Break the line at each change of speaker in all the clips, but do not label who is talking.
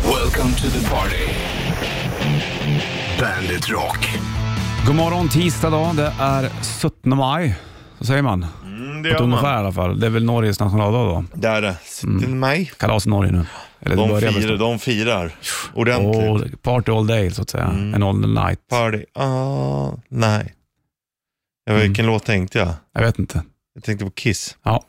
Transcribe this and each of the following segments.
Welcome to the party. Bandit Rock.
God morgon tisdag dag. Det är 17 maj. Så säger man.
Mm, det
På ett
gör
ungefär i
man.
alla fall. Det är väl Norges nationaldag då.
Där, mm. mig.
Kalas i Norge nu. Eller det
De
börjar väl
firar,
snart.
de firar. Ordentligt. Mm.
All- Party all day så att säga. And all the night.
Party. Ah, nej. Jag
Mm.
vet, vilken låt tänkte jag?
Jag vet inte.
Jag tänkte på Kiss.
Ja.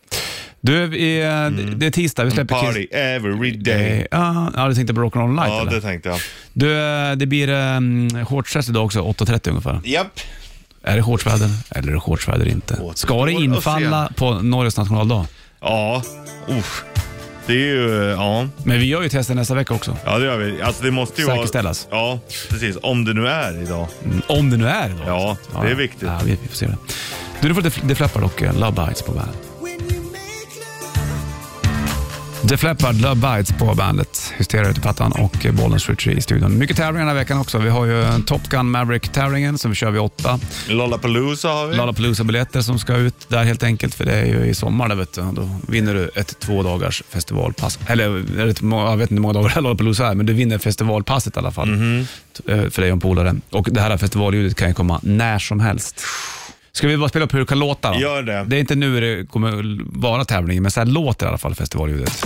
Du, vi, eh, det är tisdag. Vi släpper
Mm. Party every day.
Kiss. Ja, ja, du tänkte på Rock'n'Roll Night
Ja,
eller?
det tänkte jag.
Du, eh, det blir um, shortsdress idag också, 8.30 ungefär.
Japp.
Är det shortsväder eller är det shortsväder inte?
Återstår
Ska det
att
infalla på Norges nationaldag?
Ja, usch. Det är ju, ja.
Men vi gör ju tester nästa vecka också.
Ja, det gör vi. Alltså det måste ju
Säkerställas.
vara... Ja, precis. Om det nu är idag.
Mm, Om det nu är idag.
Ja, det är viktigt.
Ja, vi, vi får se det. Du, du får Def- Def Leppard och eh, Love Bites på bandet. Def Leppard, Love Bites på bandet. Hysteria ute i pattan och eh, Bollens Ritchie i studion. Mycket tävlingar den här veckan också. Vi har ju eh, Top Gun Maverick-tävlingen som vi kör vid åtta.
Lollapalooza har vi.
Lollapalooza-biljetter som ska ut där helt enkelt, för det är ju i sommar där vet du. Då vinner du ett två dagars festivalpass. Eller är det ett, må- jag vet inte hur många dagar Lollapalooza är, men du vinner festivalpasset i alla fall.
Mhm.
T- eh, För dig och en polare. Och det här festivalljudet kan ju komma när som helst. Ska vi bara spela upp hur det kan låta då?
Gör det.
Det är inte nu det kommer l- vara tävlingen, men så här låter i alla fall festivalljudet.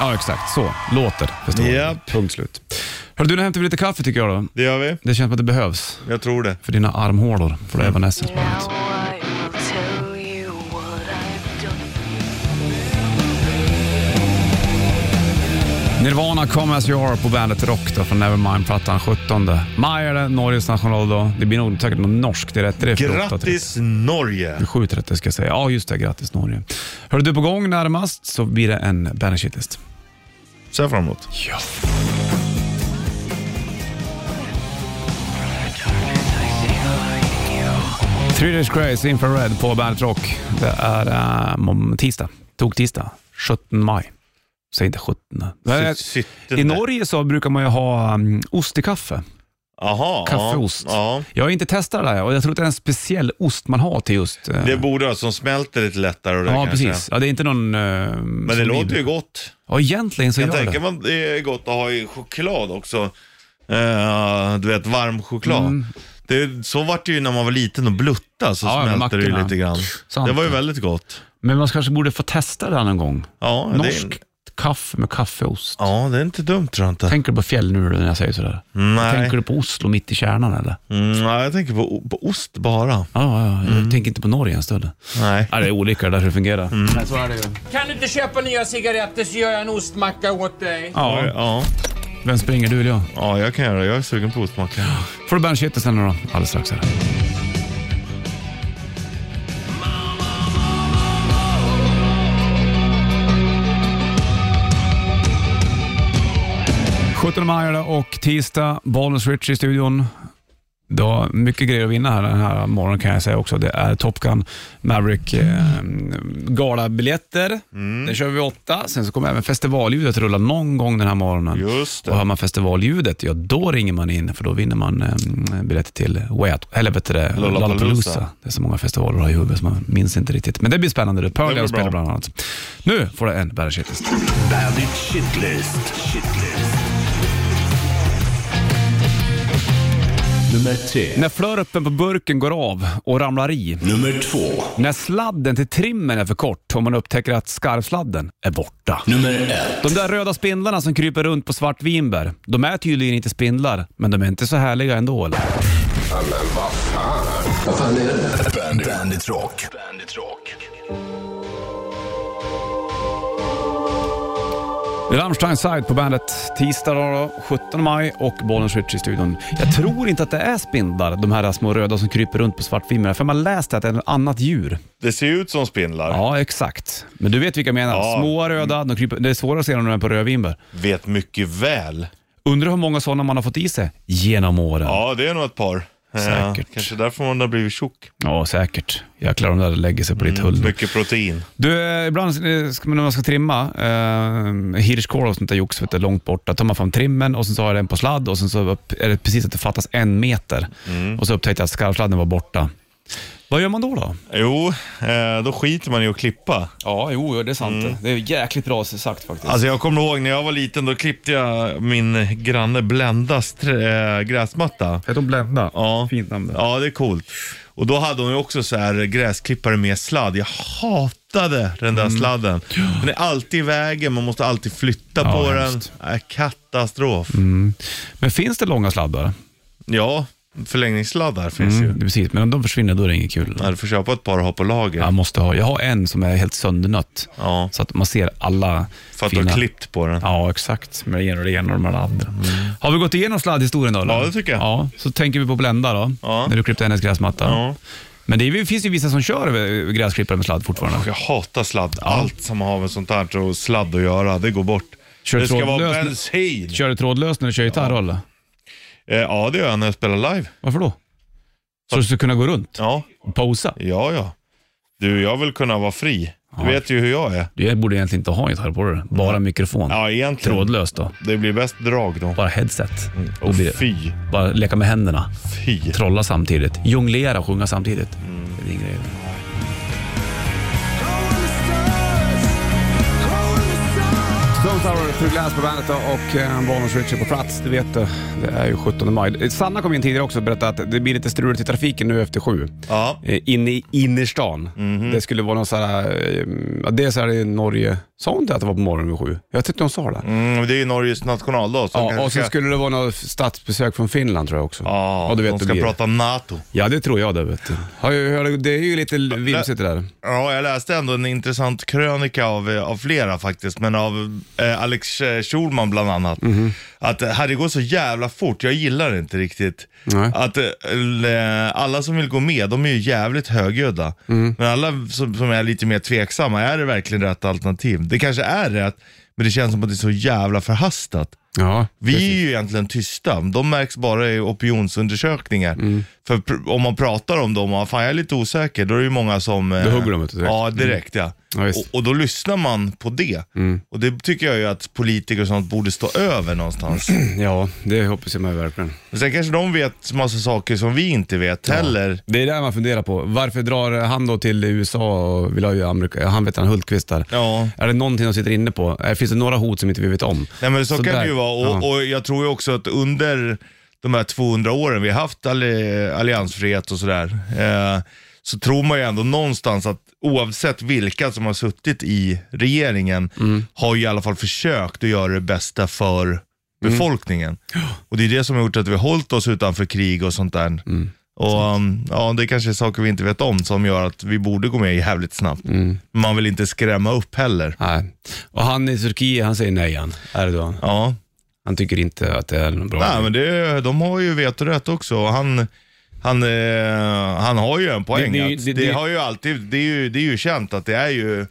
Ja, exakt. Så låter festivalljudet.
Japp.
Punkt slut. Hörru du, nu hämtar vi lite kaffe tycker jag då.
Det gör vi.
Det känns som att det behövs
Jag tror det.
för dina armhålor, för det är Evanescence på
Now
bandet.
I will tell you what I've done.
Nirvana Come As You Are på bandet Rock då, från Nevermind-plattan 17 maj är det, Norges nationaldag. Det blir nog säkert något norskt, det är rätt. Det är för åtta till-
Grattis Norge.
7.30 ska jag säga. Ja, just det. Grattis Norge. Hör du på gång närmast så blir det en bandet shitlist.
Ser jag fram emot.
Ja. Three Days Grace, Infrared på Bandet Rock. Det är eh, mom- tisdag, tog tisdag, 17 maj. Säg inte 17. Men,
Sitt-
I
sittande.
Norge så brukar man ju ha um, ost i kaffe.
Aha,
Kaffeost.
Ja,
Jag har inte testat det här och jag tror att det är en speciell ost man har till just... eh,
ja. Det borde vara som smälter lite lättare. Och det
ja,
kanske.
precis. Ja, det är inte någon... eh,
Men det låter ju gott.
Ja, egentligen så
Jag
gör
tänker
det.
man det är gott att ha i choklad också. Eh, du vet, varm choklad. Det, så var det ju när man var liten och blutta så
Mm. Ja, med
smälte det ju
mackorna.
lite grann.
Sant.
Det var ju väldigt gott.
Men man kanske borde få testa det här någon gång.
Ja,
Norsk
Det,
kaffe med kaffeost.
ja, det är inte dumt tror jag inte.
Tänker du på fjällnudlar när jag säger sådär?
Nej.
Tänker du på Oslo mitt i kärnan eller?
Mm, nej, jag tänker på, på ost bara.
Ja, ja, ja. jag
Mm.
tänker inte på Norge en stund.
Nej.
Ja, det är olika där hur det fungerar.
Mm.
Kan du inte köpa nya cigaretter så gör jag en ostmacka åt dig.
Ja,
Ja,
ja,
vem springer du eller jag?
ja, jag kan göra det. Jag är sugen på ostmacka.
Får du bandshitet sen då, alldeles strax. Här. ...17 maj är det och tisdag, Bollnäs Rich i studion. Det var mycket grejer att vinna här den här morgonen kan jag säga också. Det är Top Gun Maverick eh, galabiljetter. Den kör vi vid åtta. Sen så kommer även festivalljudet rulla någon gång den här morgonen.
Just det.
Och hör man festivalljudet, ja då ringer man in för då vinner man eh, biljetter till Way Out, eller vet du det,
Lollapalooza.
Lollapalooza. Det är så många festivaler har i huvudet så man minns inte riktigt. Men det blir spännande. du. Pearl
Det
Jam
blir
spelar
bra.
bland annat. Nu får du en Bandit Shitlist.
Bandit Shitlist. Shitlist. Nummer tre.
När flörpen på burken går av och ramlar i.
Nummer två.
När sladden till trimmen är för kort och man upptäcker att skarvsladden är borta.
Nummer ett.
De där röda spindlarna som kryper runt på svart vinbär, de är tydligen inte spindlar, men de är inte så härliga ändå eller?
Vad fan är det? Bandit, Bandit Rock. Bandit Rock.
Rammstein Side på bandet tisdag då, 17 maj och Bollens Ritchie i studion. Jag tror inte att det är spindlar, de här små röda som kryper runt på svartfimmerna, för man läste att det är ett annat djur.
Det ser ju ut som spindlar.
Ja, exakt. Men du vet vilka jag menar.
Ja.
Små röda, de kryper, det är svårare att se dem när de är på rödvinbär.
Vet mycket väl.
Undrar hur många sådana man har fått i sig genom åren. Ja,
Ja, det är nog ett par.
Säkert.
Ja, kanske därför man har blivit tjock.
säkert. Jäklar, de där lägger sig på ditt hull.
Mycket protein.
Du, eh, ibland eh, ska man, när man ska trimma eh, hirskål och sånt där jox, vet du, långt bort, då tar man fram trimmen och sen så har jag den på sladd Mm. och sen så upp, är det precis att det fattas en meter. Och så upptäckte jag att skarvsladden var borta. Vad gör man då? då?
Jo, eh, då skiter man i att klippa.
Ja, jo, det är sant. Det är jäkligt bra sagt faktiskt.
Alltså jag kommer ihåg när jag var liten, då klippte jag min granne Blendas trä- eh, gräsmatta.
Heter hon Blenda?
Ja.
Fint namn. det.
Ja, det är coolt. Och då hade hon ju också så här gräsklippare med sladd. Jag hatade den
Mm.
där sladden. Den är alltid i vägen, man måste alltid
Ja,
flytta
Mm.
på den.
hemskt.
Äh, katastrof.
Men finns det långa sladdar?
Ja, förlängningssladdar finns
Mm,
ju.
det är precis, men om de försvinner då är det inget kul.
Ja, Du får köpa ett par och ha på lager.
Jag måste ha. Jag har en som är helt söndernött.
Ja.
Så att man ser alla
För att du
fina...
har klippt på den.
Ja, exakt. Med det ena och det ena och de andra. Har vi gått igenom sladdhistorien då? eller?
Mm. Ja, det tycker jag.
Ja, så tänker vi på Blenda då,
Ja.
när du klippte hennes gräsmatta.
Ja.
Men det är, ju- finns ju vissa som kör över gräsklippare med sladd fortfarande.
Jag hatar sladd. Allt som har med sånt här och sladd att göra, det går bort.
Kör
det ska vara
trådlös-
bensin.
Kör du trådlöst när du kör gitarr eller?
Eh, ja, det gör jag när jag spelar live.
Varför då? Så du ska kunna gå runt
Ja,
och posa?
ja, ja. Du, jag vill kunna vara fri. Du vet ju hur jag är.
Du borde egentligen inte ha en gitarr på dig, bara mikrofon.
Ja, egentligen.
Trådlöst då,
Det blir bäst drag då.
bara headset. Då
Och
blir det.
fy,
Bara leka med händerna,
fy.
trolla samtidigt, jonglera och sjunga samtidigt. Det är din grej. Stone Sour, Through Glass på bandet då, och eh, Bonus Richard på plats, det vet du. Det är ju 17 maj. Eh, Sanna kom in tidigare också och berättade att det blir lite struligt i trafiken nu efter sju.
Ja.
Eh, Inne i innerstan.
Mhm.
Det skulle vara någon så här, eh, ja, dels är det i Norge, sa hon inte att det var på morgonen vid sju? Jag tyckte hon sa det.
Mm, det är ju Norges nationaldag. Så
Ja,
kanske
och så
ska-
skulle det vara något statsbesök från Finland tror jag också.
Ja,
du vet
de
hur
ska
det blir.
prata NATO.
Ja, det tror jag det vet du. Har ju- hör- Det är ju lite vimsigt det där.
Ja, jag läste ändå en intressant krönika av, eh, av flera faktiskt, men av eh, Alex eh, Schulman bland annat. Att eh, här, det går så jävla fort, jag gillar det inte riktigt.
Nej.
Att eh, l- eh, alla som vill gå med, de är ju jävligt högljudda. Men alla som, som är lite mer tveksamma, är det verkligen rätt alternativ? Det kanske är rätt, men det känns som att det är så jävla förhastat.
Ja,
Vi är ju egentligen tysta. De märks bara i opinionsundersökningar.
Mm.
För pr- om man pratar om dem och fan jag är lite osäker, då är det ju många som... eh,
Då hugger de inte direkt. Mm.
Ja, direkt ja.
Ja, visst. Mm.
och, och då lyssnar man på det. Och det tycker jag ju att politiker och sånt borde stå över någonstans.
ja, det hoppas jag med verkligen.
Men Sen kanske de vet massa saker som vi inte vet heller.
Det är det man funderar på. Varför drar han då till USA och vill ha ju Amerika? Han vet han Hultqvist där.
Ja.
Är det någonting de sitter inne på? Eh, Finns det några hot som inte vi vet om?
Nej men så, kan
där-
det ju vara. Och,
ja.
och jag tror ju också att under de här 200 åren vi har haft alli- alliansfrihet och sådär, eh, så tror man ju ändå någonstans att oavsett vilka som har suttit i regeringen, har ju i alla fall försökt att göra det bästa för befolkningen. Och det är det som har gjort att vi har hållit oss utanför krig och sånt där. Och um, ja, det kanske är saker vi inte vet om som gör att vi borde gå med jävligt snabbt. Men Man vill inte skrämma upp heller.
Nej. Och han i Turkiet, han säger nej han. Erdogan.
Ja.
Han tycker inte att det är någon bra
Nej,
idé.
men det, de har ju vetorätt också. och Han, han, eh, han har ju en poäng.
Det- det-
Det, att
det-
det,
det-
har ju alltid, det, är ju, det är ju känt att det är ju m-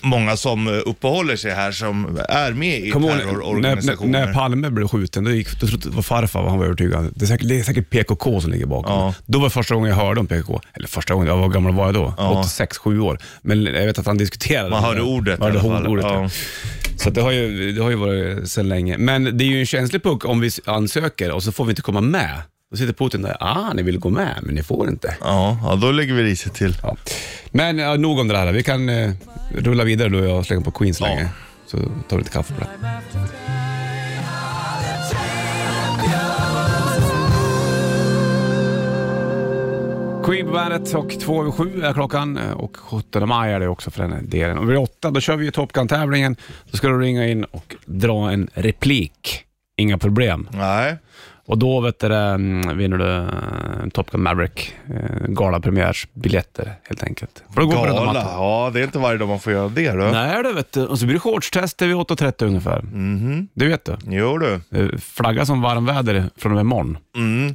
många som eh, uppehåller sig här som är med i
Kom ihåg när,
terrororganisationer.
när Palme blev skjuten, då, gick, då trodde det var farfar han var övertygad. Det är säkert, det är säkert PKK som ligger bakom.
Ja.
Då var det första gången jag hörde om PKK. Eller första gången, jag var gammal var jag då?
Ja.
86, 7 år. Men jag vet att han diskuterade.
man
det.
hörde ordet
Man
i
hörde
alla fall.
ordet, ja.
ja.
Så att det, har ju, det har ju varit sedan länge. Men det är ju en känslig puck om vi ansöker och så får vi inte komma med. Då sitter Putin där, ah ni vill gå med, men ni får inte.
Ja, ja, då lägger vi riset till.
Ja. Men ja, nog om det här. Vi kan eh, rulla vidare då jag slänger på Queens länge. Så tar vi lite kaffe på det. Queen på bandet och två över sju är klockan eh, och 17 maj är det också för den delen. Och vid åtta då kör vi ju Top Gun-tävlingen. Då ska du ringa in och dra en replik. Inga problem.
Nej,
Och då vet du, det, mm, vinner du eh, Top Gun Maverick eh, galapremiärsbiljetter helt enkelt. Får du gå på den
gala.
mattan?
Ja, det är inte varje dag man får göra det då.
Nej du vet du. Och så blir det shortstester vid 8.30 ungefär. Det vet du.
Jo du.
Eh, Flagga som varmväder från och med imorgon.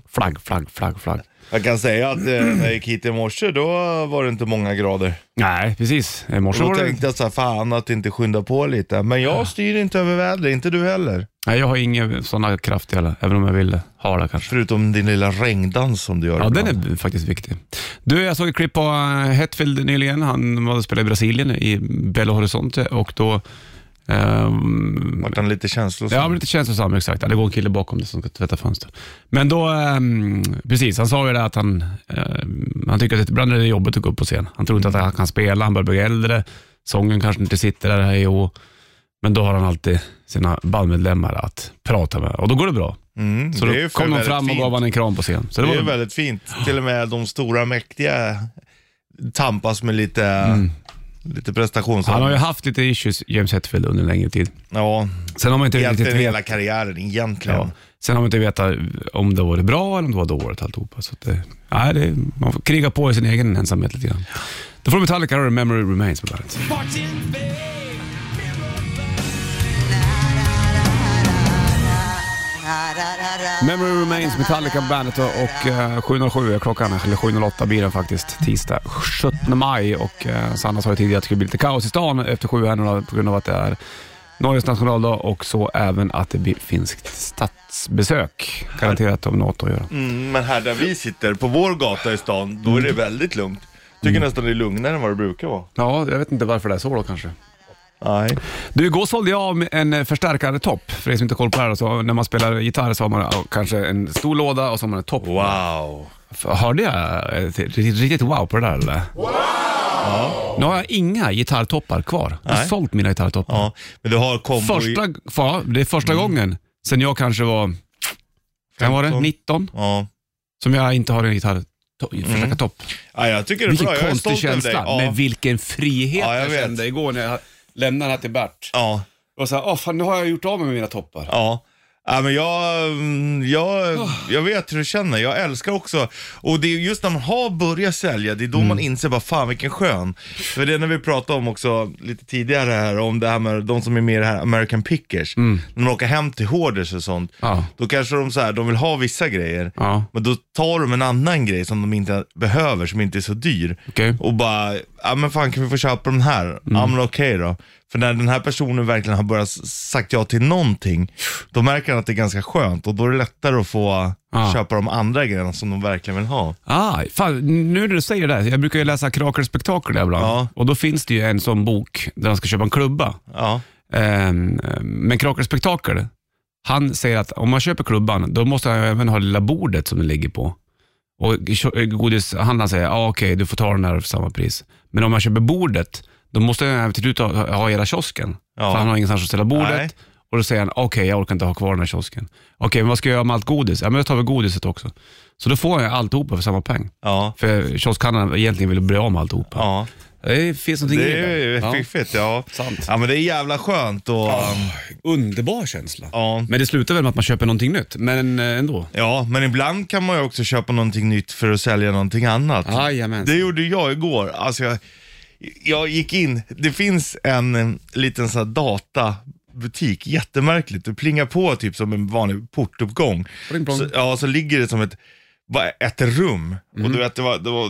Flagg, flagg, flagg, flagg.
Jag kan säga att eh, när jag gick hit i morse, då var det inte många grader.
Nej, precis. I morse
Då
var det...
tänkte jag så här, fan att inte skynda på lite. Men jag styr inte över vädret, inte du heller.
Nej, jag har inga sådana krafter heller, även om jag vill ha det kanske.
Förutom din lilla regndans som du gör
Ja, den
ibland.
är b- faktiskt viktig. Du, jag såg ett klipp på eh, Hetfield nyligen. Han var och spelade i Brasilien, i Belo Horizonte och då Ehm,
Vart han lite känslosam?
Ja, men lite känslosam. Exakt. Ja, Det går en kille bakom det som ska tvätta fönster. Men då, ehm, precis, han sa ju det att han, ehm, han tycker att det ibland är det jobbigt att gå upp på scen. Han tror inte att han kan spela, han börjar bli äldre. Sången kanske inte sitter där, hej och hå. Men då har han alltid sina bandmedlemmar att prata med och då går det bra.
Mm,
Så
det
då
är ju för
kom de
väldigt
fram och
fint.
gav han en kram på scen. Så det,
Det är ju
var,
väldigt fint. Till och med de stora mäktiga tampas med lite,
Mm.
lite
han har ju
prestationsångest.
haft lite issues, James Hetfield, under en längre tid.
Ja,
Sen har man inte riktigt
egentligen
vetat.
hela karriären egentligen.
Ja. Sen har man inte vetat om det var det bra eller om det var dåligt alltihopa. Så att det, nej, det, man får kriga på i sin egen ensamhet lite grann. Då får Metallica höra Memory Remains på bandet. Memory Remains, Metallica på bandet och, och eh, 7.07 är klockan, eller 7.08 blir den faktiskt, tisdag 17 maj. Och eh, Sanna sa ju tidigare att det skulle bli lite kaos i stan efter sju här nu då, på grund av att det är Norges nationaldag och så även att det blir finskt statsbesök. Garanterat om något att göra.
Mm, men här där vi sitter, på vår gata i stan, då är
Mm.
det väldigt lugnt. Tycker nästan det är lugnare än vad det brukar vara.
Ja, jag vet inte varför det är så då kanske.
Nej.
Du, igår sålde jag av en eh, förstärkare topp. För er som inte har koll på det här, då, så när man spelar gitarr så har man eh, kanske en stor låda och så har man en topp.
Wow.
F- Hörde jag ett riktigt, riktigt wow på det där eller? Wow! Nu har jag inga gitarrtoppar kvar. Jag har
Nej.
sålt mina gitarrtoppar.
Ja, men du har kombo
Första,
i...
ja, det är
Mm.
första gången sen jag kanske var, kan var det,
15?
19,
Ja.
som jag inte har en
Mm.
gitarrförstärkartopp.
ja, jag tycker det är
Vilken
bra. Jag är
konstig
stolt över dig.
känsla,
Ja.
men vilken frihet
Ja, jag
jag,
vet.
kände igår när jag lämnade den här till Bert.
ja,
Och så här, åh fan, nu har jag gjort av med mina toppar.
Ja. Ja, men jag, mm,
Oh.
jag, jag vet hur du känner. Jag älskar också, och det är just när man har börjat sälja, det är då
Mm.
man inser bara fan vilken skön. För det är när vi pratade om också lite tidigare här, om det här med de som är med i det här American Pickers. När de åker hem till Hoarders och sånt,
Mm. Ja.
då kanske de så här, de vill ha vissa grejer.
Ja.
Men då tar de en annan grej som de inte behöver, som inte är så dyr.
Okej.
Och bara, ja men fan kan vi få köpa den här? Ja men okej då. För när den här personen verkligen har börjat s- sagt ja till någonting, då märker han att det är ganska skönt och då är det lättare att få
Ja.
köpa de andra grejerna som de verkligen vill ha.
Ah, fan, nu när du säger det, här, jag brukar ju läsa Krakel och Spektakel ibland.
Ja.
Och då finns det ju en sån bok där han ska köpa en klubba.
Ja,
Ehm, ehm, men Krakel och Spektakel, han säger att om man köper klubban, då måste han ju även ha det lilla bordet som den ligger på. Och kö- godishandlaren säger, ah, okej, du får ta den här för samma pris. Men om man köper bordet, då måste han även till slut ha, ha hela kiosken.
Ja.
För han har ingenstans att ställa bordet.
Nej.
Och då säger han, okej, jag orkar inte ha kvar den här kiosken. Okej, men vad ska jag göra med allt godis? Ja, men jag tar väl godiset också. Så då får jag alltihopa för samma peng.
ja,
För kioskhandlaren egentligen ville bli av med alltihopa.
ja.
Det finns någonting
Det
i
är ju
Ja.
fiffigt, ja.
Sant.
Ja men det är jävla skönt och...
Underbar känsla.
Ja.
Men det slutar väl med att man köper någonting nytt, men eh, ändå.
Ja, men ibland kan man ju också köpa någonting nytt för att sälja någonting annat.
Jajamän.
Det gjorde jag igår. Alltså jag, jag gick in, det finns en eh, liten sån här databutik, jättemärkligt. Du plingar på typ som en vanlig portuppgång.
Pling plong.
Så, ja, så ligger det som ett, bara ett rum.
Mm.
Och du vet, det var, det var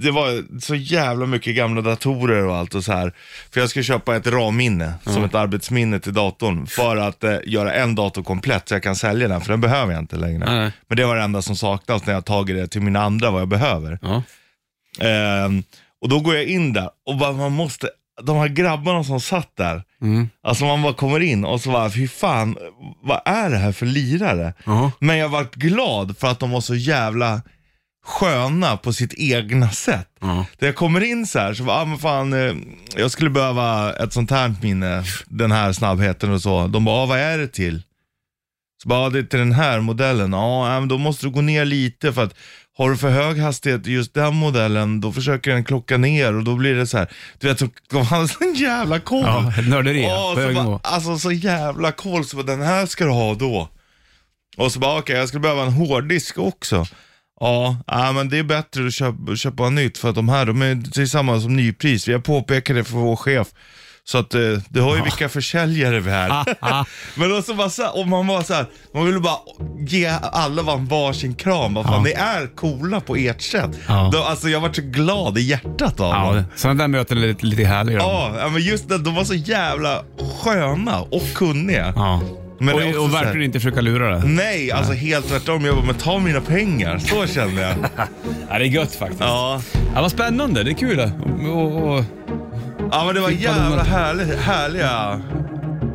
det var så jävla mycket gamla datorer och allt och så här. För jag ska köpa ett RAM-minne, som ett arbetsminne till datorn. För att eh, göra en dator komplett så jag kan sälja den, för den behöver jag inte längre.
Nej.
Men det var det enda som saknas när jag tagit det till mina andra, vad jag behöver.
Ja.
Ehm, och då går jag in där och bara, man måste, de här grabbarna som satt där,
Mm.
alltså man bara kommer in och så bara, fy fan, vad är det här för lirare?
Ja.
Men jag vart glad för att de var så jävla sköna på sitt egna sätt.
Ja.
När jag kommer in så här, så bara, ah, men fan, eh, jag skulle behöva ett sånt här minne, den här snabbheten och så. De bara, ah, vad är det till? Så bara, ah, det är till den här modellen. Ja, ah, men då måste du gå ner lite för att har du för hög hastighet i just den modellen, då försöker den klocka ner och då blir det så här. Du vet, så gav han sån jävla koll.
Ja, nörderi, ja,
Åh,
på
så
hög
bara,
nivå.
alltså så jävla koll, så bara, den här ska du ha då. Och så bara, okej jag skulle behöva en hårddisk också. Ja, ja, men det är bättre att köpa, köpa nytt för att de här, de är tillsammans som nypris. Vi har påpekat det för vår chef. Så att eh, du har ju vilka försäljare vi är. men då så bara så här, och man var så här, man ville bara ge alla var- varsin kram. Vad fan, ni är coola på ert sätt.
Ja.
Då, alltså jag vart så glad i hjärtat av dem.
Ja, sådana där möten är lite, lite härliga.
Ja, ja, men just det, de var så jävla sköna och kunniga.
Ja.
Men det är också
och, och
så här-
verkligen inte försöka lura det.
Nej, alltså helt tvärtom. Jag bara, men ta mina pengar. Så kände jag.
Ja, det är gött faktiskt.
Ja,
Ja, vad spännande, det är kul. det. Och, och, och,
Ja men det var
Fippadona.
jävla härliga, härliga,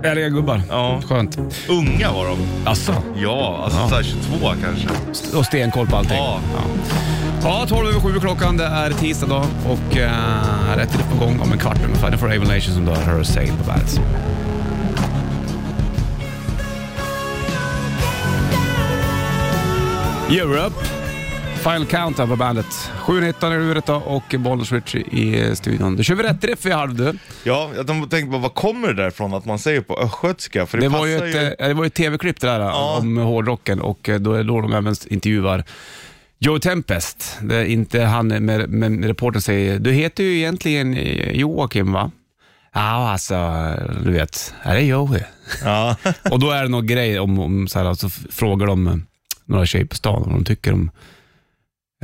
Ärliga gubbar.
Ja.
Skönt.
unga var de.
Alltså.
Ja, alltså såhär 22 kanske.
Och stenkoll på allting.
Ja.
Ja, 12 över 7 klockan. Det är tisdag då och eh, rätt till på gång om en kvart ungefär. Det får Raven Nation som då har Her Sail på bandet. Europe. Final Countdown på bandet. 7.19 är uret då och Bollnäs Richie i studion. Då kör vi rätt riff i halv du.
Ja, jag tänkte bara, vad kommer det därifrån att man säger på östgötska? För det,
Det
passar
var ju ett, eh, det var ju ett tv-klipp det där om hårdrocken och eh, då är det då de även intervjuar Joe Tempest. Det är inte han med, med reportern säger, du heter ju egentligen eh, Joakim va? Ja, alltså, du vet, här är Joey.
Ja.
och då är det någon grej om, om så här, så f- frågar de eh, några tjejer på stan vad de tycker om,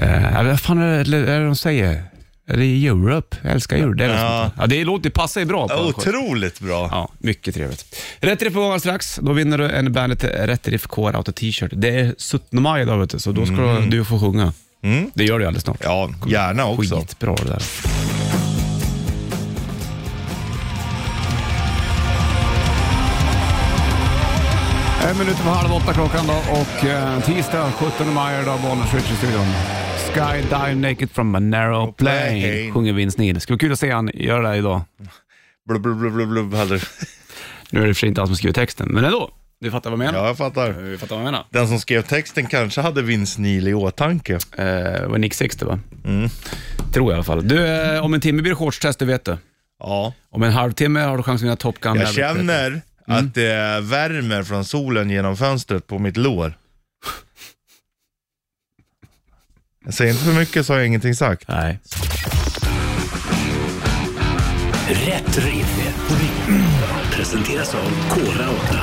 eh, ja, vad fan är det, eller är det de säger? Är det Europe? Jag älskar Europe. Det, är
Ja.
ja. Ja, det låter, passar ju bra. på östgötska.
Otroligt bra.
Ja, mycket trevligt. Rätt Riff på gång strax. Då vinner du en Bandet Rätt Riff Core Auto T-shirt. Det är 17 maj idag vet du, så då ska du få sjunga. Det gör du alldeles snart.
Mhm. Mm. Ja, gärna också.
Skitbra det där. En minut över halv åtta klockan då och eh, tisdag 17 maj idag, Bollnäs Rich i studion. Skydive naked from a narrow plane,
plane.
sjunger Vince Neil. Skulle vara kul att se han göra det idag.
Blub, blub, blub, blub, blub. hade-
Nu är det i och för sig inte han som skriver texten, men ändå. Du fattar vad jag menar?
Ja, jag fattar.
Du fattar vad jag menar?
Den som skrev texten kanske hade Vince Neil i åtanke.
Eh, det var Nick Sixter va?
Mm.
Tror jag i alla fall. Du, eh, om en timme blir det shortstest, det vet du.
Ja,
Om en halvtimme har du chans att vinna Top Gun.
jag
Maverick, vet
känner att det värmer från solen genom fönstret på mitt lår. Jag säger inte för mycket så har jag ingenting sagt.
du. Nej.
Rätt riff. Presenteras av Kora 8.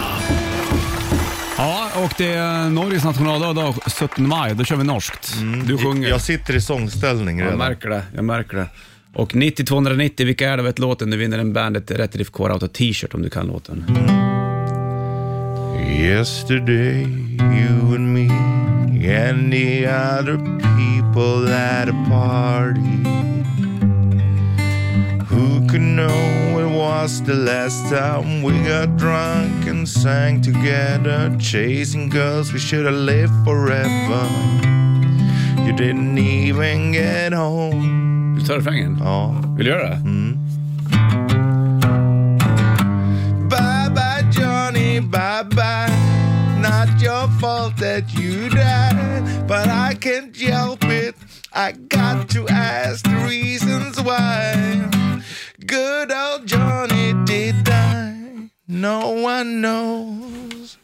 Ja, och det är Norges nationaldag idag, 17 maj. Då kör vi norskt. Du sjunger.
Mm. Jag sitter i sångställning
jag
redan.
märker det. Jag märker det. Och 90-290, vilka är det? Vet låten. Du vinner en Bandet Rätt Riff Core Auto T-shirt om du kan låten.
Yesterday, you and me and the other people at a party. Who could know it was the last time we got drunk and sang together, chasing girls we should have lived forever. You didn't even get home.
Vill du ta refrängen?
Ja. Mm.
Vill du göra det?
Bye bye, Johnny, bye bye. Not your fault that you died, but I can't help it. I got to ask the reasons why. Good old Johnny did die. No one knows.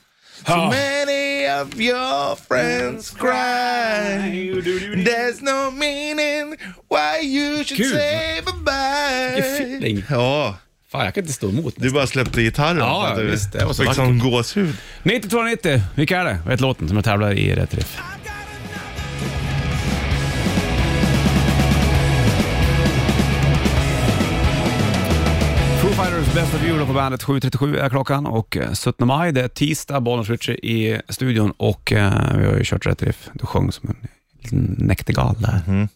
So
Ja.
many of your friends cry. There's no meaning why you should
Kul.
say
Vilken
goodbye.
feeling.
Ja.
Fan, jag kan inte stå emot.
Du bara släppte gitarren?
Ja,
för att
ja,
du
visst, det var så
fick sån gåshud.
90-290, vilka är det? Vet låten som jag tävlar i Rätt Riff. Foo Fighters Best of You då på bandet. 7.37 är klockan och eh, 17 maj, det är tisdag, Bollnäs Ritchie i studion och eh, vi har ju kört Rätt Riff. Du sjöng som en liten näktergal där.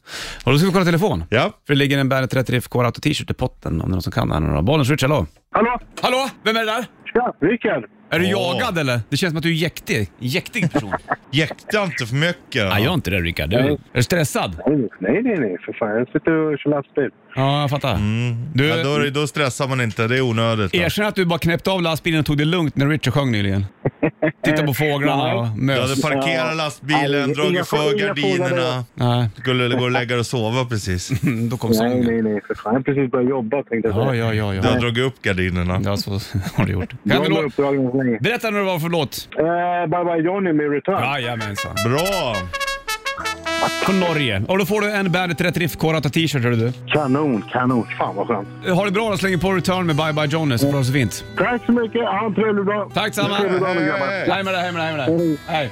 Och då ska vi kolla telefon.
Ja.
För det ligger en Bandet Rätt Riff Core Auto T-shirt i potten om det är någon som kan det här nu då. Bollnäs Ritchie, hallå?
Hallå?
Hallå, vem är det där?
Tja, Rickard.
Är du
Åh.
jagad eller? Det känns som att du är jäktig. Jäktig person.
Jäkta inte för mycket.
Nej, jag är inte det Rickard. Du, är du stressad?
Nej, nej, nej. För fan, jag sitter och kör lastbil.
Ja, jag fattar. Du,
ja, då, är det- då stressar man inte, det är onödigt. då.
erkänn att du bara knäppte av lastbilen och tog det lugnt när Richard sjöng nyligen. Titta på fåglarna och
Du
mös.
hade parkerat
Ja.
lastbilen,
Nej, inga-
dragit för
inga
gardinerna.
frågor
Nej,
Skulle gå och lägga dig och sova precis.
mm, då kom
Nej,
sången.
nej, nej. För fan, jag har precis börjat jobba tänkte jag
Ja,
säga.
ja, ja.
Du har
ja.
dragit upp gardinerna.
ja så har du gjort.
Jag
Kan du
har
lå-
uppdragen så länge.
Berätta nu vad det var för låt.
Eh, bye bye Johnny med Return.
Jajamensan.
Bra!
Från Norge. Och då får du en Bandet Rätt Riff Korata t-shirt, hör du.
Kanon, kanon. Fan vad skönt.
Ha det bra då, slänger på Return med Bye Bye Johnny så får du ha det så fint.
Tack så mycket. Ha en trevlig dag.
Tack samma.
Trevlig dag nu
Hej.
grabbar.
Hej med dig, hej med dig, hej med dig. Hej.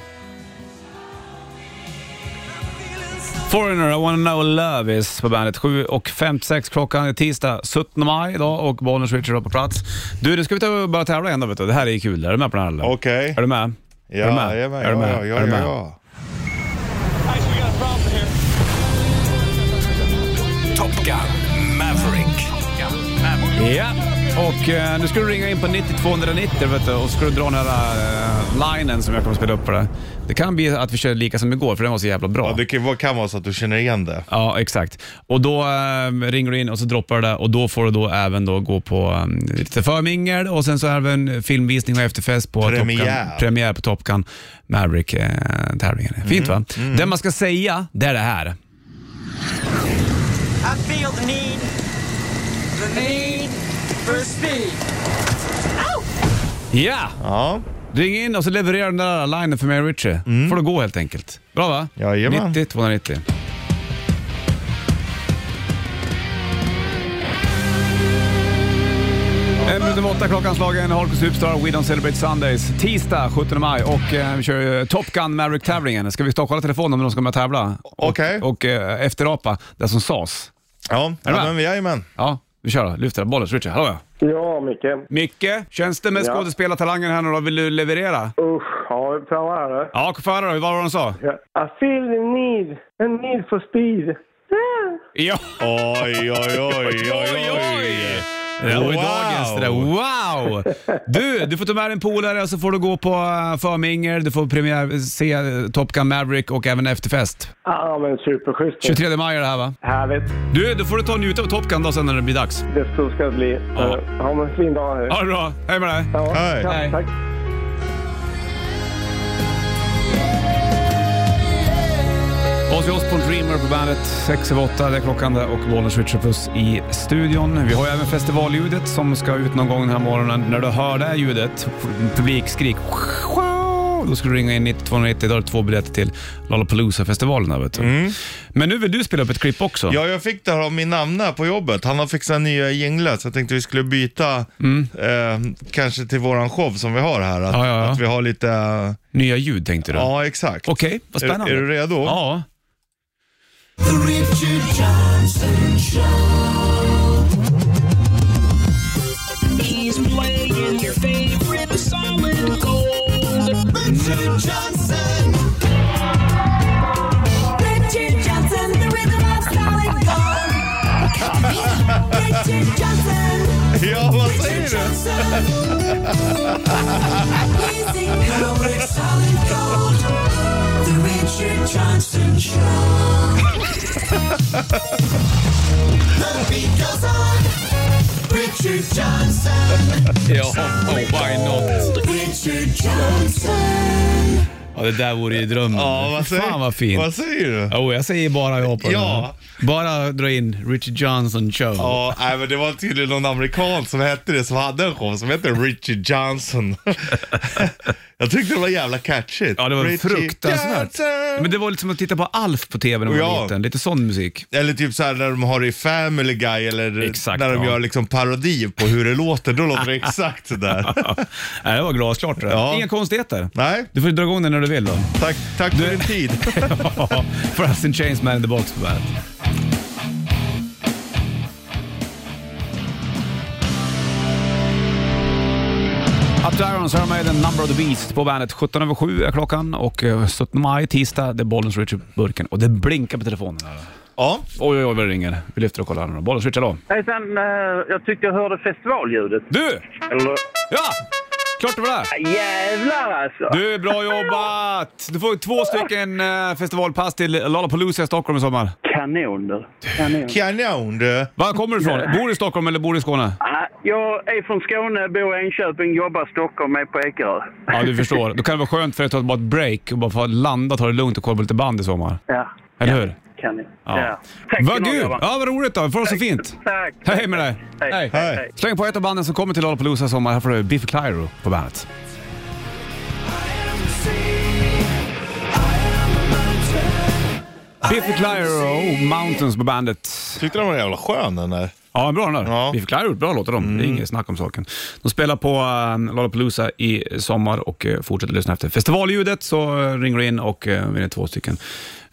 Foreigner, I wanna know love is på bandet. 7.56 klockan är tisdag 17 maj idag och Bonus Richard är på plats. Du, nu ska vi ta och börja tävla igen då vet du. Det här är kul. Är du med på den här eller?
Okej.
Är du med?
Ja,
är du med?
jag är med.
Är du med?
Ja, ja,
Är du
ja,
med?
ja.
Top Gun Maverick.
Ja, och eh, nu ska du ringa in på 9290 vet du, och så ska du dra den här eh, linen som jag kommer spela upp för dig. Det kan bli att vi kör lika som igår, för den var så jävla bra.
Ja, det kan, kan vara så att du känner igen det.
Ja, exakt. Och då eh, ringer du in och så droppar du det och då får du då även då gå på um, lite förmingel och sen så även filmvisning och efterfest på
Premiär.
Top Gun, premiär på Top Gun Maverick-tävlingen. Fint va? Det man ska säga, det är det här.
I feel the need, the need for speed.
Ja!
Ja,
Ring in och så levererar den där linen för mig och Richie. får du gå helt enkelt. Bra va?
Mm. Jajamän.
90 290. En minut över åtta klockanslagen, Holkos Superstar, We Don't Celebrate Sundays. Tisdag 17 maj och eh, vi kör ju Top Gun Maverick-tävlingen. Ska vi ta och kolla telefonen om de ska med och tävla?
Okej.
Och, och eh, efterapa det som sades.
ja, ja
med?
men jajamän.
Ja, vi kör då. Lyft den. Bollens, Richie. Hallå ja.
Ja, Micke.
Micke, känns det med
Ja.
skådespelartalangen här nu då? Vill du leverera?
Usch, ja, fan vad är det?
Ja, få höra då. Vad var det de sa?
I feel the need, a need for speed.
Ja.
Oj, oj, oj, oj, oj.
Det var ju
Wow.
dagens det där. Wow! Du, du får ta med en polare och så får du gå på eh, förmingel, du får premiär, se eh, Top Gun Maverick och även efterfest.
Ja, men superschysst.
23 maj är det här va?
Härligt.
Du, då får du ta och njuta av Top Gun då sen när det blir dags.
Det så ska det bli.
Ja.
Ja. Ha en fin dag nu.
Ha det bra, hej med dig!
Ja,
Hej.
tack,
Hej.
Tack.
Ozzy Osbourne Dreamer på bandet. sex över åtta, det är klockan där och Bollnäs Richard Puss i studion. Vi har ju även festivalljudet som ska ut någon gång den här morgonen. När du hör det här ljudet, f- publikskrik, då ska du ringa in 9290. Då har du två biljetter till Lollapalooza-festivalen här vet du. Men nu vill du spela upp ett klipp också.
Mm. Ja, jag fick det här av min namne på jobbet. Han har fixat nya jinglar, så jag tänkte vi skulle byta, eh, kanske till våran show som vi har här. Att,
Mm. Ja, ja, ja.
att vi har lite,
Nya ljud tänkte du?
ja exakt.
Okej, vad
Är,
spännande.
är du redo?
Ja.
He's playing your favorite solid gold. Richard Johnson.
Richard Johnson, the rhythm of solid gold. Richard Johnson,
Ja, vad säger du?
Johnson. Amazing rhythm of solid gold. The Richard Johnson Show. the beat goes on. Richard Johnson,
Ja, oh, why not?
Richard Johnson.
Ja, det där vore ju drömmen.
Ja, vad säger,
Fan vad fint.
Vad säger du?
Jo, jag säger bara ja på
Ja.
den. Bara dra in Richard Johnson show.
Ja, nej, men det var tydligen någon amerikan som hette det, som hade en show som hette Richie Johnson. jag tyckte det var jävla catchigt.
Ja, det var
Richie
fruktansvärt.
Johnson.
Men det var lite som att titta på Alf på tv när man var
Ja.
liten. Lite sån musik.
Eller typ så här när de har det i Family Guy eller
Exakt,
när de
ja.
gör liksom parodi på hur det låter, då låter det exakt sådär.
Nej, det var glasklart det där.
Ja.
Inga konstigheter.
Nej,
Du får dra igång den när du vill då.
tack, tack för din tid.
För us in Chains, Man in the Box på bandet. Up to Irons, Iron Maiden, Number of the Beast på bandet. 17 över 7 är klockan och eh, 17 maj, tisdag, det är Bollens Richard Burken. Och det blinkar på telefonen. Här.
Ja,
Oj, oj, oj vad det ringer. Vi lyfter och kollar nu då. Bollens Richard, hallå.
Hejsan, eh, jag tyckte jag hörde festivalljudet.
Du!
Eller?
Ja! Klart det var det.
Jävlar alltså!
Du, bra jobbat! Du får två stycken eh, festivalpass till Lollapalooza i Stockholm i sommar.
Kanon du. Kanon.
kanon du.
Var kommer du ifrån? Bor du i Stockholm eller bor du i Skåne?
Ah, Jag är från Skåne, bor i Enköping, jobbar i Stockholm, är på Ekerö.
Ja, du förstår. Då kan det vara skönt för dig att ta bara ett break och bara få landa, ta det lugnt och kolla på lite band i sommar.
Ja,
Eller hur?
kanon.
Ja.
Tack
Vad
ska ni ha,
gud!
grabbar.
Ja, vad roligt då. Vi får ha det så fint.
Tack.
Hej med dig.
Hej, hej,
Hej.
hej.
Släng på ett av banden som kommer till Lollapalooza i sommar. Här får du Biffy Clyro på bandet. Biffy Clyro, Mountains på bandet.
Tyckte den var jävla skön den där.
Ja, bra den där.
Ja. Mm.
Vi förklarar ut bra låtar de. Det är inget snack om saken. De spelar på äh, Lollapalooza i sommar och äh, fortsätter lyssna efter festivalljudet så eh, ringer du in och äh, vinner två stycken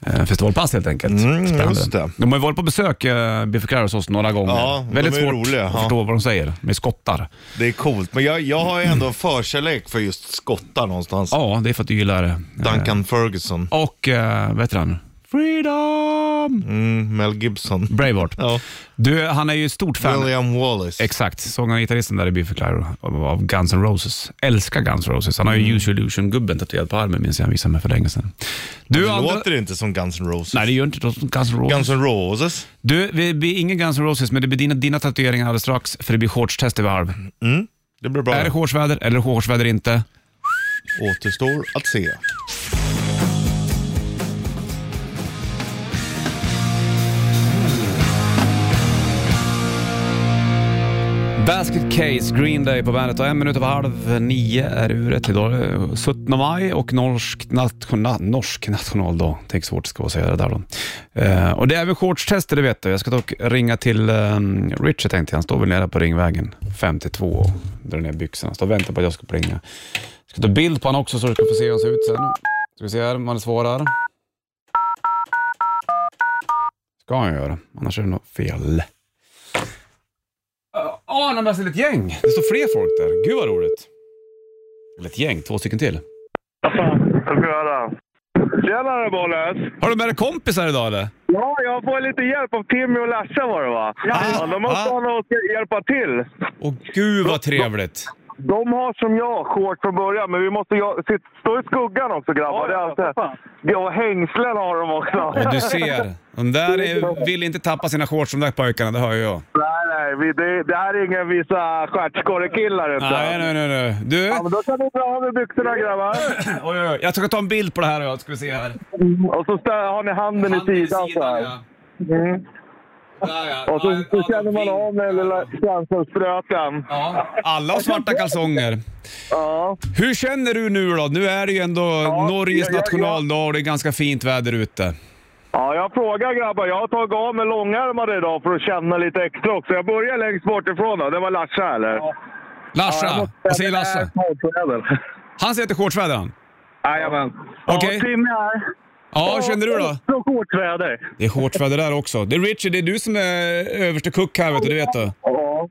eh, festivalpass helt enkelt.
Mm,
Spännande.
just det.
De har ju varit på besök, äh, Biffy Clyro, hos oss några gånger.
Ja, de
Väldigt
är
svårt
roliga,
att
ja.
förstå vad de säger med skottar.
Det är coolt, men jag, jag har ju ändå en förkärlek för just skottar någonstans.
Ja, det är för att du gillar... eh,
Duncan Ferguson.
och, äh, vad heter han? Freedom!
Mm, Mel Gibson.
Braveheart.
Ja.
Du, han är ju stort fan.
William Wallace.
Exakt, sångaren och gitarristen där i Biffy Clyro av av Guns N' Roses. Älskar Guns N' Roses. Han har
Mm.
ju Use Your Illusion-gubben tatuerad på armen minns jag han visade mig för länge sedan. Du,
det
andra...
låter inte som Guns N' Roses.
Nej, det gör inte det. Guns N' Roses.
Guns N' Roses.
Du, vi blir ingen Guns N' Roses, men det blir dina, dina tatueringar alldeles strax, för det blir shortstest över halv.
Det blir bra.
Är det shortsväder eller shortsväder inte?
Återstår att se.
Basket Case, Green Day på bandet och en minut över halv nio är uret. Idag är det 17 maj och norsk, nationa, norsk nationaldag. Tänk så svårt det ska vara att säga det där då. Eh, och det är väl shortstester, det vet du. Jag ska dock ringa till um, Richard tänkte jag. Han står väl nere på Ringvägen 52 och drar ner byxorna. Står och väntar på att jag ska plinga. Jag ska ta bild på honom också så du ska få se hur han ser ut sen. Ska vi se här om han svarar. Ska han göra, annars är det något fel. Ja, han har med sig ett gäng. Det står fler folk där. Gud vad roligt. Eller ett gäng, två stycken till.
Tjenare Bollnäs!
Har du med dig kompisar idag eller?
Ja, jag får lite hjälp av Timmy och Lasse var det va? Ja, de
ah.
måste ha någon att hjälpa till.
Åh gud vad trevligt.
De har som jag shorts från början, men vi måste ja, sit, stå i skuggan också grabbar. Ja, det är alltid, ja, och hängslen har de också.
Och du ser, de där är, vill inte tappa sina shorts de där pojkarna, det hör ju jag.
Nej, nej, vi, det, det här är ingen vissa stjärtskorrekillar. inte.
Nej, nej, nej, nej. Du,
Ja, men då kan ni dra av er byxorna grabbar.
oj, oj, oj. jag ska ta en bild på det här och jag ska vi se här.
Och så stä- har ni handen,
Handen
i
i
sidan. så här.
ja.
Mm.
Där, ja.
Och så,
Ja,
så
ja,
känner man
fin.
av den lilla känslan spröten.
Ja, alla har svarta kalsonger.
Ja.
Hur känner du nu då? Nu är det ju ändå Norges
jag- jag-
nationaldag och det är ganska fint väder ute.
ja, jag frågar grabbar. Jag har tagit av mig långärmade idag för att känna lite extra också. Jag börjar längst bort ifrån då. Det var Lasse eller? Ja,
Larsa, vad säger Lasse? Han säger att det är shortsväder han.
Jajamän.
Okej.
Ja, Timmy här.
Ja, känner du då?
Så skjortväder.
Det är shortsväder där också. Det är Richard, det är du som är överste kuck här vet du, det vet du.
Ja.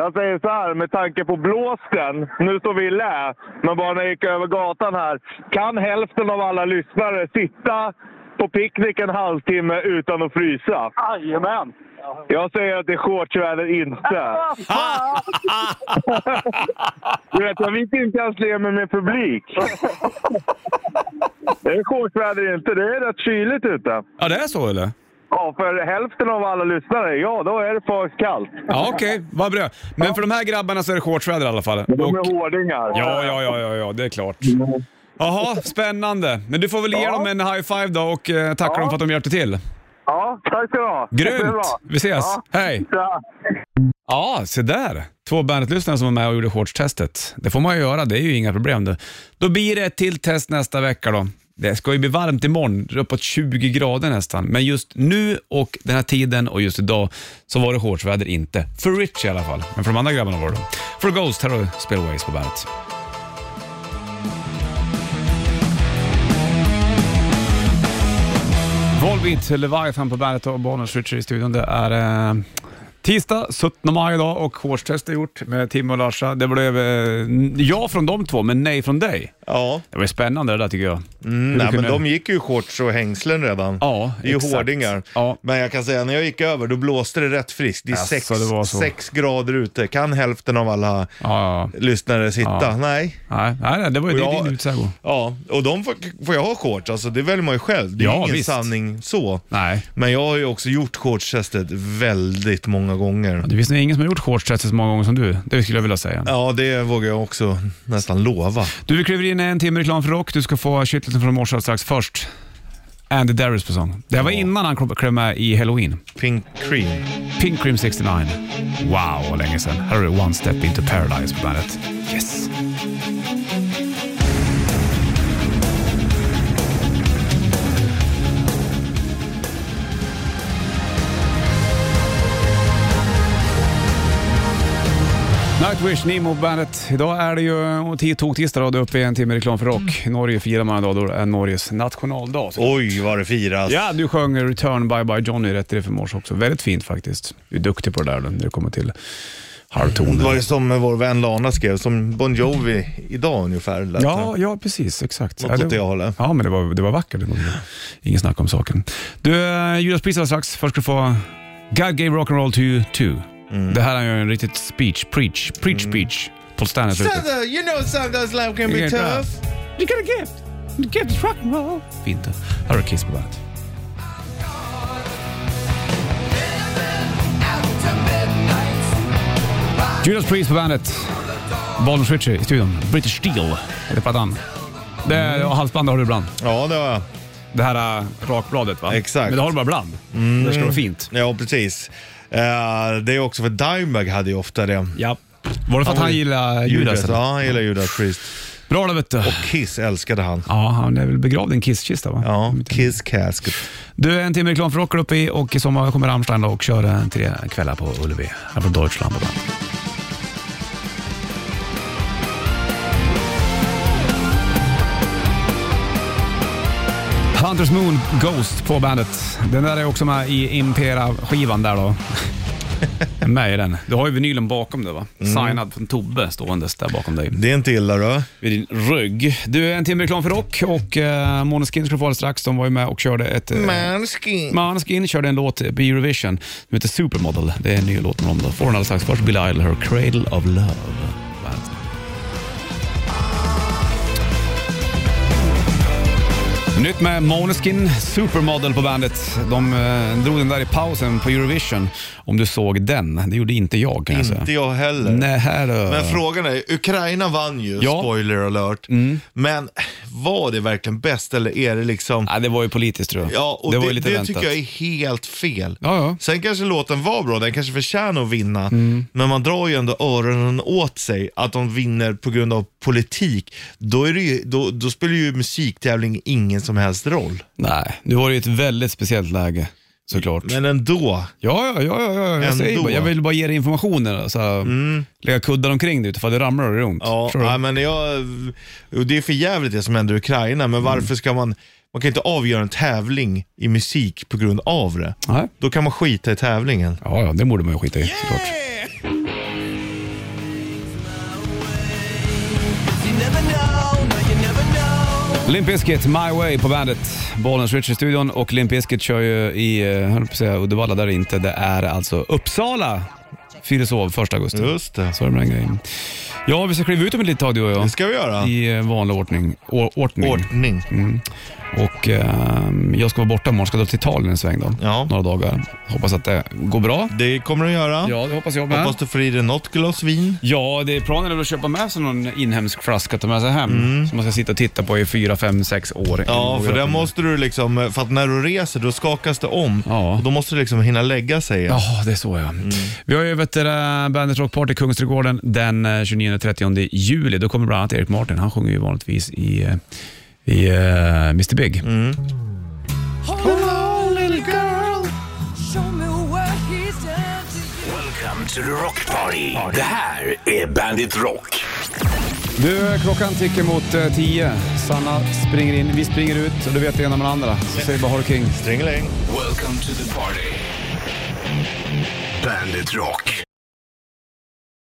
Jag säger så här, med tanke på blåsten. Nu står vi i lä, men bara när jag gick över gatan här. Kan hälften av alla lyssnare sitta på picknick en halvtimme utan att frysa? Jajamän! Jag säger att det är shortsväder inte. Du vet, jag vet inte ens det med min publik. Det är shortsväder inte. Det är rätt kyligt ute.
Ja, det är så eller?
Ja, för hälften av alla lyssnare, ja, då är det för kallt.
Ja, okej, vad bra. Men för de här grabbarna så är det shortsväder i alla fall.
De är
Och,
hårdingar.
ja, ja, ja, ja, ja, det är klart. Jaha, spännande. Men du får väl ge dem en high five då och eh, tacka dem för att de hjälpte till.
Ja, tack ska du ha. Det är
Grymt!
bra.
Vi ses.
Ja.
Hej!
Tja.
Ja, se där. Två Bandet-lyssnare som var med och gjorde shortstestet. Det får man ju göra, det är ju inga problem. Då, då blir det ett till test nästa vecka då. Det ska ju bli varmt imorgon, uppåt 20 grader nästan. Men just nu och den här tiden och just idag så var det shortsväder inte. För Rich i alla fall, men för de andra grabbarna var det. För Ghost, här har du Spillways på bandet. Volbeat, Leviathan på bandet och Bonus Richard i studion. Det är eh, tisdag 17 maj idag och shortstest är gjort med Tim och Larsa. Det blev eh, ja från de två, men nej från dig.
Ja.
Det var ju spännande det där tycker jag. Hur du
Mm, Nej, men
kunde-
de gick ju i shorts och hängslen redan.
Ja,
det är ju
exakt.
hårdingar.
Ja.
Men jag kan säga, när jag gick över då blåste det rätt friskt. Det är
Jaså,
sex,
Alltså, det var så.
sex grader ute. Kan hälften av alla
Ja, ja.
lyssnare sitta?
Ja.
Nej.
Nej, nej, nej, det var ju
Och
det
jag-
din utsago.
Ja, och de får, får jag ha shorts. Alltså, det väljer man ju själv. Det är
Ja,
ingen
visst.
sanning så.
Nej.
Men jag har ju också gjort shortstestet väldigt många gånger.
Det finns nog ingen som har gjort shortstestet så många gånger som du. Det skulle jag vilja säga.
Ja, det vågar jag också nästan lova.
Du, vi kliver in i en timme reklam för rock. Du ska få shitlisten från morse strax. Först, Andy Darius på sång. Det här var innan han kom- klev med i Halloween.
Pink cream.
Pink Cream 69. Wow, vad länge sedan. Här är One Step Into Paradise på bandet. Yes! Nightwish, Nemo på bandet. Idag är det ju tog-tisdag och det är uppe i en timme reklam för rock. I Norge firar man idag då det är Norges nationaldag. Så-
Oj, vad det firas.
Ja, du sjöng Return Bye Bye Johnny rätt i det för mors också. Väldigt fint faktiskt. Du är duktig på det där när det kommer till
Det var ju
halvtoner.
som vår vän Lana skrev, som Bon Jovi idag ungefär. lät det.
Ja, ja, precis. Exakt.
Något
ja,
åt det hållet.
ja, men det var, det var vackert. Det var- Ingen snack om saken. Du, eh, Judas Priest alldeles strax. Först ska du få God gave rock'n'roll to you too.
Mm.
Det här är ju en riktigt speech, preach, preach, speech. Paul Stanley i slutet.
Sometimes- You know sometimes life can be tough.
You got a gift. The gift is rock'n'roll. Fint. det. Här har Kiss på bandet. Judas Priest på bandet. Bollnäs Ritchie i studion. British Steel heter plattan. Det, och halsbandet har du ibland.
Ja, det var jag.
Det här äh, rakbladet va?
Exakt.
Men det har du bara ibland. Det ska vara fint.
Ja, precis. Eh, det är också för Dimebag hade ju ofta det.
Ja. Var det för att han gillar Judas? eller?
Ja, han gillar Judas Priest.
Bra då vet du.
Kiss älskade han.
Ja, han är väl begravd i en kisskista va?
Ja, Kiss Casket.
Du, en timme reklam för rock uppe i och i sommar kommer Rammstein då och kör eh, tre kvällar på Ullevi. Här på Deutschland. på bandet. Hunters Moon Ghost på bandet. Den där är också med i Impera-skivan där då. Den är Med i den. Du har ju vinylen bakom dig va? Signad från Tobbe ståendes där bakom dig
Det är inte illa då.
vid din rygg. Du, en timme reklam för rock och eh, Måneskin ska du få alldeles strax. De var ju med och körde ett... Eh,
Manskin.
Måneskin körde en låt på Eurovision som heter Supermodel. Det är en ny låt med dem. då. Får den alldeles strax. Först Billie Idol, Her Cradle of Love. Bandet. Nytt med Måneskin, Supermodel på bandet. De eh, drog den där i pausen på Eurovision. Om du såg den. Det gjorde inte jag kan jag säga.
Inte jag heller.
Nej, här då.
Men frågan är, Ukraina vann ju,
Ja. Mm.
spoiler alert. Men var det verkligen bäst eller är det liksom...
Ja, det var ju politiskt tror jag.
Ja, och
Ah, det
det,
var ju
det,
lite väntat.
tycker jag är helt fel.
Ja, ja. Mm.
Sen kanske låten var bra, den kanske förtjänar att vinna. Men man drar ju ändå öronen åt sig att de vinner på grund av politik. Då, är det ju, då, då spelar ju musiktävling ingen som helst roll.
Nej, nu var det ju ett väldigt speciellt läge såklart.
Men ändå.
Ja, ja, ja, ja, ja. Jag,
Ändå. Mm.
säger bara, jag vill bara ge dig informationen. Så här, Lägga kuddar omkring dig utifrån det ramlar och det gör ont.
Ja,
Förstår du?
nej, men jag, och det är för jävligt det som händer i Ukraina,
Mm.
men varför ska man... Man kan inte avgöra en tävling i musik på grund av det.
Nej.
Då kan man skita i tävlingen.
Ja, ja, det borde man ju skita i såklart. Limp Bizkit, My Way på bandet. Bollens Rich i studion och Limp Bizkit kör ju i, eh, jag höll på att säga Uddevalla, där är det inte. Det är alltså Uppsala. Fyrishov, 1 augusti.
Just det.
Så är det med den grejen. Ja, vi ska kliva ut om ett litet tag du och jag.
Det ska vi göra.
I Mm. eh, vanlig ordning. Or- ordning.
Ordning.
Och ehm, jag ska vara borta imorgon, ska då till Italien en sväng då.
Ja.
Några dagar. Hoppas att det går bra.
Det kommer du göra.
Ja, det hoppas jag med.
Hoppas du får i dig något glas vin.
Ja, det är planen är väl att köpa med sig någon inhemsk flaska att ta med sig hem. Som man ska sitta och titta på i fyra, fem, sex år.
Mm. Ja,
Och
för
göra-
det måste du liksom, för att när du reser då skakas det om.
Ja.
Och då måste du liksom hinna lägga sig.
Ja, det är så ja.
Mm.
Vi har ju vet du, äh, Bandet Rock Party i Kungsträdgården den eh, 29-30 juli. Då kommer bland annat Erik Martin. Han sjunger ju vanligtvis i, eh, i eh, Mr Big.
Mm.
Welcome to the rock party. Det här är Bandit Rock.
Du, klockan tickar mot eh, tio. Sanna springer in, vi springer ut och du vet det ena med det andra. Så säger bara ha det king.
Stringeling.
Welcome to the party. Bandit Rock.